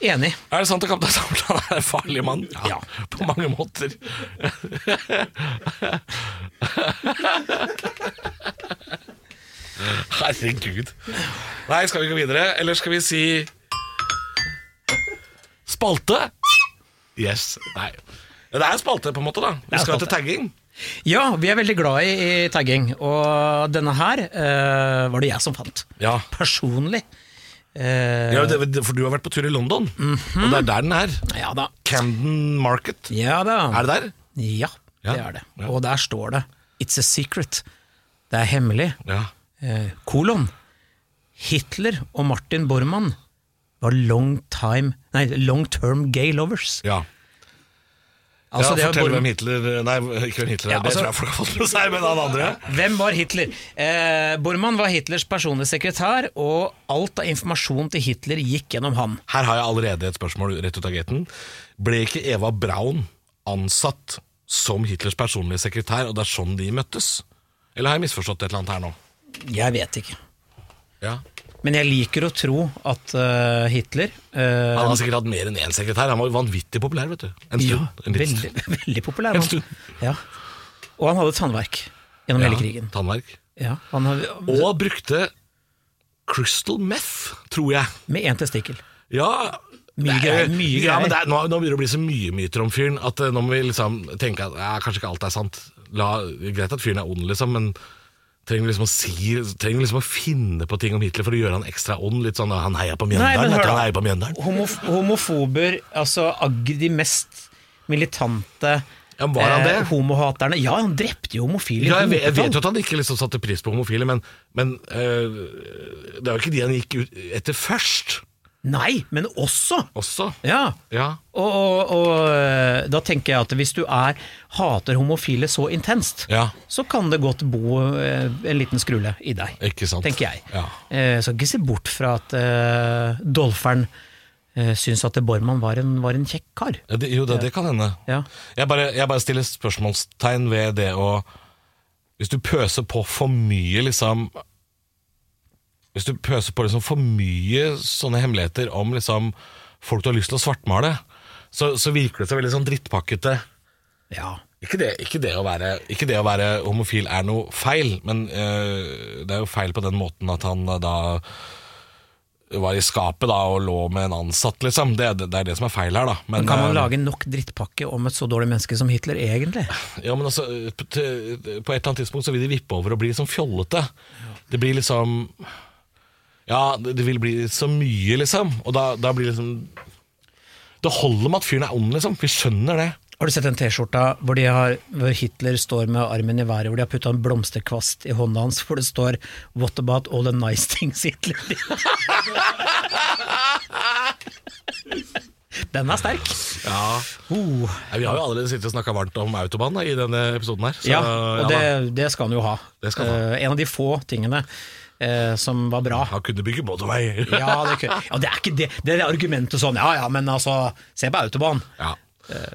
Speaker 3: Enig.
Speaker 2: Er det sant at kaptein Sabeltann er en farlig mann?
Speaker 3: Ja.
Speaker 2: På mange måter. Herregud. Nei, skal vi gå videre? Eller skal vi si Spalte? Yes. Nei. Det er spalte, på en måte. da Vi
Speaker 3: er
Speaker 2: skal
Speaker 3: spalte.
Speaker 2: til tagging.
Speaker 3: Ja, vi er veldig glad i, i tagging, og denne her eh, var det jeg som fant.
Speaker 2: Ja.
Speaker 3: Personlig. Eh,
Speaker 2: Ja, det, for du har vært på tur i London, og det er der den er.
Speaker 3: ja da.
Speaker 2: Mhm. Camden Market.
Speaker 3: Ja da.
Speaker 2: Er det der?
Speaker 3: Ja,
Speaker 2: Ja,
Speaker 3: det er det.
Speaker 2: ja.
Speaker 3: Og der står det 'It's a secret'. Det er hemmelig.
Speaker 2: Ja.
Speaker 3: Eh, kolon. Hitler og Martin Bormann var long time Nei, long term gay lovers.
Speaker 2: ja.
Speaker 3: Altså, det
Speaker 2: ja,
Speaker 3: var
Speaker 2: fortell
Speaker 3: Bormann-
Speaker 2: hvem Hitler Nei, ikke hvem Hitler er.
Speaker 3: Ja, altså-
Speaker 2: det tror jeg folk har fått med seg, men han andre
Speaker 3: Hvem var Hitler? Eh, Bormann var Hitlers personlige sekretær, og alt av informasjon til Hitler gikk gjennom han.
Speaker 2: Her har jeg allerede et spørsmål rett ut av gaten. Ble ikke Eva Braun ansatt som Hitlers personlige sekretær, og det er sånn de møttes? Eller har jeg misforstått et eller annet her nå?
Speaker 3: Jeg vet ikke.
Speaker 2: Ja.
Speaker 3: Men jeg liker å tro at eh, Hitler eh,
Speaker 2: Han har sikkert hatt mer enn én sekretær. Han var jo vanvittig populær, vet du. En stund.
Speaker 3: Ja,
Speaker 2: en liten
Speaker 3: veldig,
Speaker 2: stund.
Speaker 3: veldig populær
Speaker 2: En
Speaker 3: mann.
Speaker 2: stund.
Speaker 3: Ja. Og han hadde tannverk gjennom hele krigen.
Speaker 2: Tannverk.
Speaker 3: Ja, han hadde,
Speaker 2: Og brukte crystal meth, tror jeg.
Speaker 3: med én testikkel.
Speaker 2: Ja
Speaker 3: Mye
Speaker 2: det er-
Speaker 3: greier, mye
Speaker 2: ja,
Speaker 3: greier.
Speaker 2: men det er, nå, nå begynner det å bli så mye myter om fyren at eh, nå må vi liksom tenke at ja, kanskje ikke alt er sant. La, greit at fyren er ond, liksom, men trenger vi liksom, å si, trenger vi liksom å finne på ting om Hitler for å gjøre han ekstra ond? Litt sånn «Ah, 'han heia på
Speaker 3: Nei, men
Speaker 2: Mjøndalen',
Speaker 3: hør
Speaker 2: etter
Speaker 3: da.
Speaker 2: han heier på Mjøndalen.
Speaker 3: Homof homofober, altså agg, de mest militante eh,
Speaker 2: Ja, men var han det?
Speaker 3: homohaterne. Ja, han drepte jo homofile. i
Speaker 2: Ja, jeg, vet, jeg
Speaker 3: hopetall.
Speaker 2: vet jo at han ikke liksom satte pris på homofile, men, men eh, det er jo ikke de han gikk ut etter først
Speaker 3: Nei, men også!
Speaker 2: også.
Speaker 3: Ja.
Speaker 2: Ja.
Speaker 3: Og, og, og øh, da tenker jeg at hvis du er, hater homofile så intenst,
Speaker 2: Ja.
Speaker 3: så kan det godt bo øh, en liten skrulle i deg.
Speaker 2: Ikke sant.
Speaker 3: tenker jeg.
Speaker 2: Ja.
Speaker 3: Eh, skal ikke se bort fra at eh, Dolferen eh, syns at Bormann var en, var en kjekk kar.
Speaker 2: Ja, det, jo, det, det kan hende.
Speaker 3: Ja.
Speaker 2: Jeg, bare, jeg bare stiller spørsmålstegn ved det å Hvis du pøser på for mye, liksom Hvis du pøser på liksom for mye sånne hemmeligheter om liksom folk du har lyst til å svartmale, så, så virker det så veldig sånn drittpakkete.
Speaker 3: Ja.
Speaker 2: Ikke det, ikke, det å være, ikke det å være homofil er noe feil, men eh, det er jo feil på den måten at han eh, da var i skapet da og lå med en ansatt, liksom. Det, det, det er det som er feil her, da. Men,
Speaker 3: Men kan
Speaker 2: eh,
Speaker 3: man lage nok drittpakke om et så dårlig menneske som Hitler, egentlig?
Speaker 2: Ja, men altså, på på et eller annet tidspunkt så vil de vippe over og bli sånn fjollete. Det blir liksom Ja, det det vil bli så mye, liksom. Og da, da blir det liksom Det holder med at fyren er ond, liksom. Vi skjønner det.
Speaker 3: Har du sett den T-skjorta hvor, de har- hvor Hitler står med armen i været, hvor de har putta en blomsterkvast i hånda hans, hvor det står 'What about all the nice things Hitler did?" Den er sterk.
Speaker 2: Ja.
Speaker 3: Oh.
Speaker 2: Vi har jo allerede sittet og snakka varmt om Autobahn da, i denne episoden her. så-
Speaker 3: Ja,
Speaker 2: ja
Speaker 3: og
Speaker 2: da.
Speaker 3: det, det skal han jo ha.
Speaker 2: Det skal han
Speaker 3: Eh, en av de få tingene eh, som var bra.
Speaker 2: Han kunne bygge motorvei.
Speaker 3: Ja, det, er ikke- ja, det er ikke det. Det er argumentet sånn, ja ja, men altså, se på autobahn.
Speaker 2: Ja.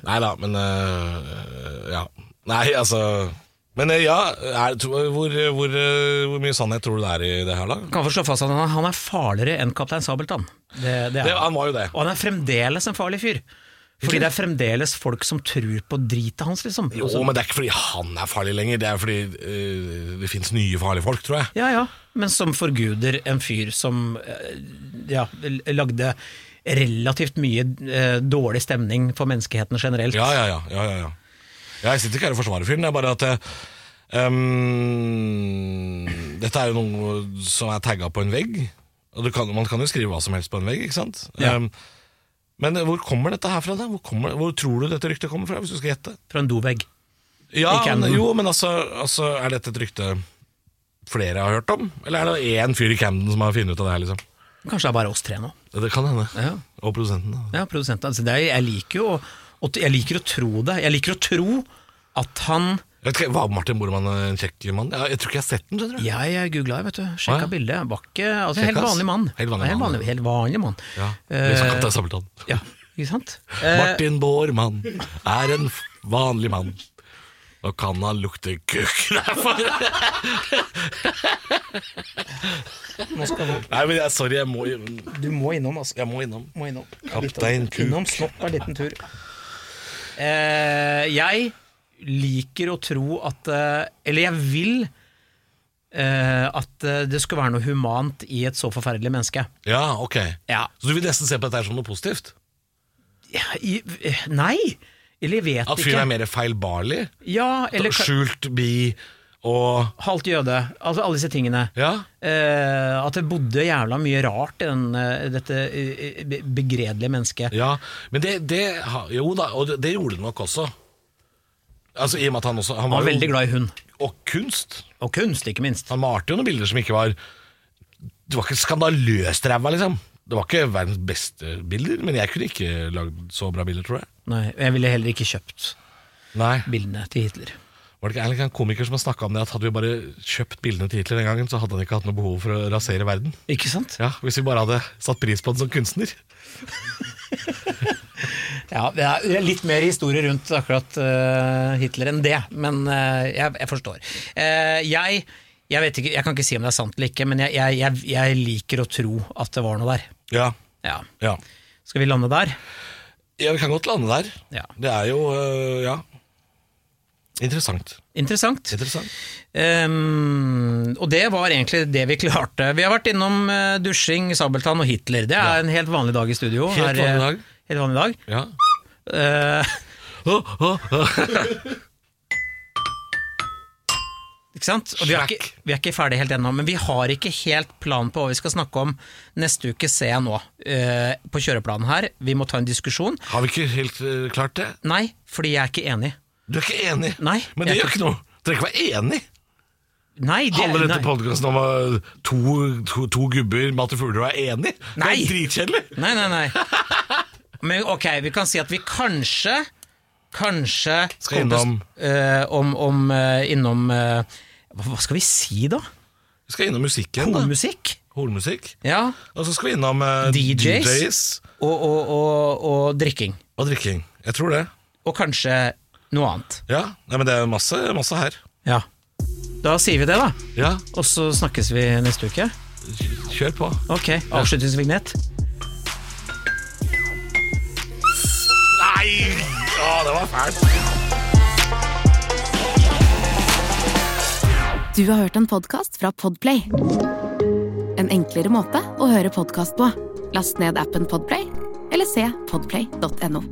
Speaker 2: Nei da, men øh, Ja. Nei, altså Men øh, ja, er, tro- hvor, hvor, øh, hvor mye sannhet tror du det er i det her, da?
Speaker 3: Kan få slå fast at han er, han er farligere enn Kaptein Sabeltann. Det, det er.
Speaker 2: Det,
Speaker 3: han.
Speaker 2: han var jo det.
Speaker 3: Og han er fremdeles en farlig fyr. Fordi det er fremdeles folk som tror på dritet hans, liksom.
Speaker 2: Jo, men det er ikke fordi han er farlig lenger, det er fordi eh, det fins nye farlige folk, tror jeg.
Speaker 3: Ja ja, men som forguder en fyr som eh, ja, lagde relativt mye eh, dårlig stemning for menneskeheten generelt.
Speaker 2: Ja, ja, ja. ja, ja, ja. Jeg sitter ikke her og forsvarer fyren, det er bare at eh, ehm, Dette er jo noe som er tagga på en vegg. Og du kan, man kan jo skrive hva som helst på en vegg, ikke sant?
Speaker 3: Ja.
Speaker 2: Ehm, men hvor kommer dette her fra, da? Hvor, kommer, hvor tror du dette ryktet kommer fra, hvis du skal gjette?
Speaker 3: Fra en dovegg.
Speaker 2: Ja,
Speaker 3: Ikke
Speaker 2: men,
Speaker 3: Camden.
Speaker 2: jo, men altså, altså, er dette et rykte flere har hørt om? Eller er det én fyr i Camden som har funnet ut av det her, liksom?
Speaker 3: Kanskje det er bare oss tre nå.
Speaker 2: Det kan hende.
Speaker 3: Ja.
Speaker 2: Og produsenten. da.
Speaker 3: Ja, produsenten. Altså, det er, jeg liker jo å, å- jeg liker å tro det. Jeg liker å tro at han
Speaker 2: Jeg vet ikke, Var Martin Bormann en kjekk mann? Ja, jeg tror ikke jeg har sett den. skjønner du
Speaker 3: Jeg googla, vet du.
Speaker 2: Å,
Speaker 3: Sjekka
Speaker 2: ja.
Speaker 3: bildet. Var ikke altså,
Speaker 2: Sjekka,
Speaker 3: Helt
Speaker 2: ass.
Speaker 3: vanlig mann.
Speaker 2: Helt vanlig
Speaker 3: helt
Speaker 2: mann,
Speaker 3: vanlig, helt vanlig mann.
Speaker 2: ja.
Speaker 3: Eh,
Speaker 2: liksom Kaptein Sabeltann.
Speaker 3: ja, ikke sant? Eh,
Speaker 2: Martin Bormann er en f- vanlig mann. Nå kan han lukte kuk Nei, for-
Speaker 3: Nå skal du
Speaker 2: Nei, men jeg, sorry, jeg må,
Speaker 3: Du må innom, altså.
Speaker 2: jeg må innom.
Speaker 3: Må innom.
Speaker 2: Kaptein Kuk.
Speaker 3: Innom snopp en liten tur. Eh, jeg liker å tro at eh, Eller jeg vil eh, at eh, det skulle være noe humant i et så forferdelig menneske.
Speaker 2: Ja, ok.
Speaker 3: Ja.
Speaker 2: Så du vil nesten se på dette her som noe positivt?
Speaker 3: I, eh, nei! Eller jeg vet
Speaker 2: At
Speaker 3: ikke.
Speaker 2: fyren er mer feilbarlig?
Speaker 3: Ja, eller ka-
Speaker 2: Skjult bi og
Speaker 3: halvt jøde. Altså alle disse tingene.
Speaker 2: Ja.
Speaker 3: Eh, at det bodde jævla mye rart i den, eh, dette eh, be- begredelige mennesket.
Speaker 2: Ja, men det, det ha- Jo da, og det, det gjorde det nok også. Altså I og med at han også Han
Speaker 3: Han
Speaker 2: var
Speaker 3: var
Speaker 2: jo-
Speaker 3: veldig glad i hund.
Speaker 2: Og kunst.
Speaker 3: Og kunst, ikke minst.
Speaker 2: Han malte jo noen bilder som ikke var Det var ikke skandaløst ræva, liksom. Det var ikke verdens beste bilder, men jeg kunne ikke lagd så bra bilder, tror jeg.
Speaker 3: Nei, og jeg ville heller ikke kjøpt
Speaker 2: Nei.
Speaker 3: bildene til Hitler.
Speaker 2: Var det ikke en eller annen komiker som har snakka om det, at hadde vi bare kjøpt bildene til Hitler den gangen, så hadde han ikke hatt noe behov for å rasere verden?
Speaker 3: Ikke sant?
Speaker 2: Ja, Hvis vi bare hadde satt pris på den som kunstner.
Speaker 3: Ja, det er- det er litt mer historie rundt akkurat eh, Hitler enn det, men eh, jeg, jeg forstår. Eh, jeg, jeg, vet ikke, jeg kan ikke si om det er sant eller ikke, men jeg, jeg, jeg, jeg liker å tro at det var noe der.
Speaker 2: Ja.
Speaker 3: Ja.
Speaker 2: ja.
Speaker 3: Skal vi lande der?
Speaker 2: Ja, vi kan godt lande der.
Speaker 3: Ja.
Speaker 2: Det er jo øh, Ja. Interessant.
Speaker 3: Interessant.
Speaker 2: Interessant.
Speaker 3: Ehm, og det var egentlig det vi klarte. Vi har vært innom eh, dusjing, Sabeltann og Hitler. Det er en helt vanlig dag i studio.
Speaker 2: Helt
Speaker 3: eh,
Speaker 2: vanlig dag.
Speaker 3: Helt vanlig dag.
Speaker 2: Ja.
Speaker 3: Eh,
Speaker 2: Oh, oh, oh.
Speaker 3: ikke sant? Og vi er ikke,
Speaker 2: Smack.
Speaker 3: vi er ikke ferdig helt ennå, men vi har ikke helt plan på hva vi skal snakke om neste uke, ser jeg nå. eh, på kjøreplanen her. Vi må ta en diskusjon.
Speaker 2: Har vi ikke helt øh, klart det?
Speaker 3: Nei, fordi jeg er ikke enig.
Speaker 2: Du er ikke enig?
Speaker 3: Nei,
Speaker 2: Men det
Speaker 3: jeg
Speaker 2: gjør ikke noe. Du trenger ikke være enig.
Speaker 3: Nei, det,
Speaker 2: Handler
Speaker 3: nei.
Speaker 2: dette podkasten om øh, to, to, to gubber, Matti Fugler, og er enig?
Speaker 3: Nei.
Speaker 2: Det er dritkjedelig.
Speaker 3: Nei, nei, nei. Men ok, vi kan si at vi kanskje Kanskje
Speaker 2: Skal
Speaker 3: kommer til å-
Speaker 2: innom-
Speaker 3: eh, om, om eh, Innom eh, hva, hva skal vi si, da?
Speaker 2: Vi skal innom musikken. da.
Speaker 3: Hornmusikk?
Speaker 2: Hornmusikk.
Speaker 3: Ja.
Speaker 2: Og så skal vi innom øh,
Speaker 3: DJs.
Speaker 2: DJs
Speaker 3: Og, og, og, og drikking.
Speaker 2: og drikking. Jeg tror det.
Speaker 3: Og kanskje noe annet.
Speaker 2: Ja, Nei, men det er masse, masse her.
Speaker 3: Ja. Da sier vi det, da.
Speaker 2: Ja,
Speaker 3: Og så snakkes vi neste uke.
Speaker 2: kjør på.
Speaker 3: Ok, avslutningsvignett.
Speaker 2: Nei! Å, det var fælt.
Speaker 1: Du har hørt en podcast fra Podplay En enklere måte å høre podcast på Last ned appen Podplay Eller se podplay.no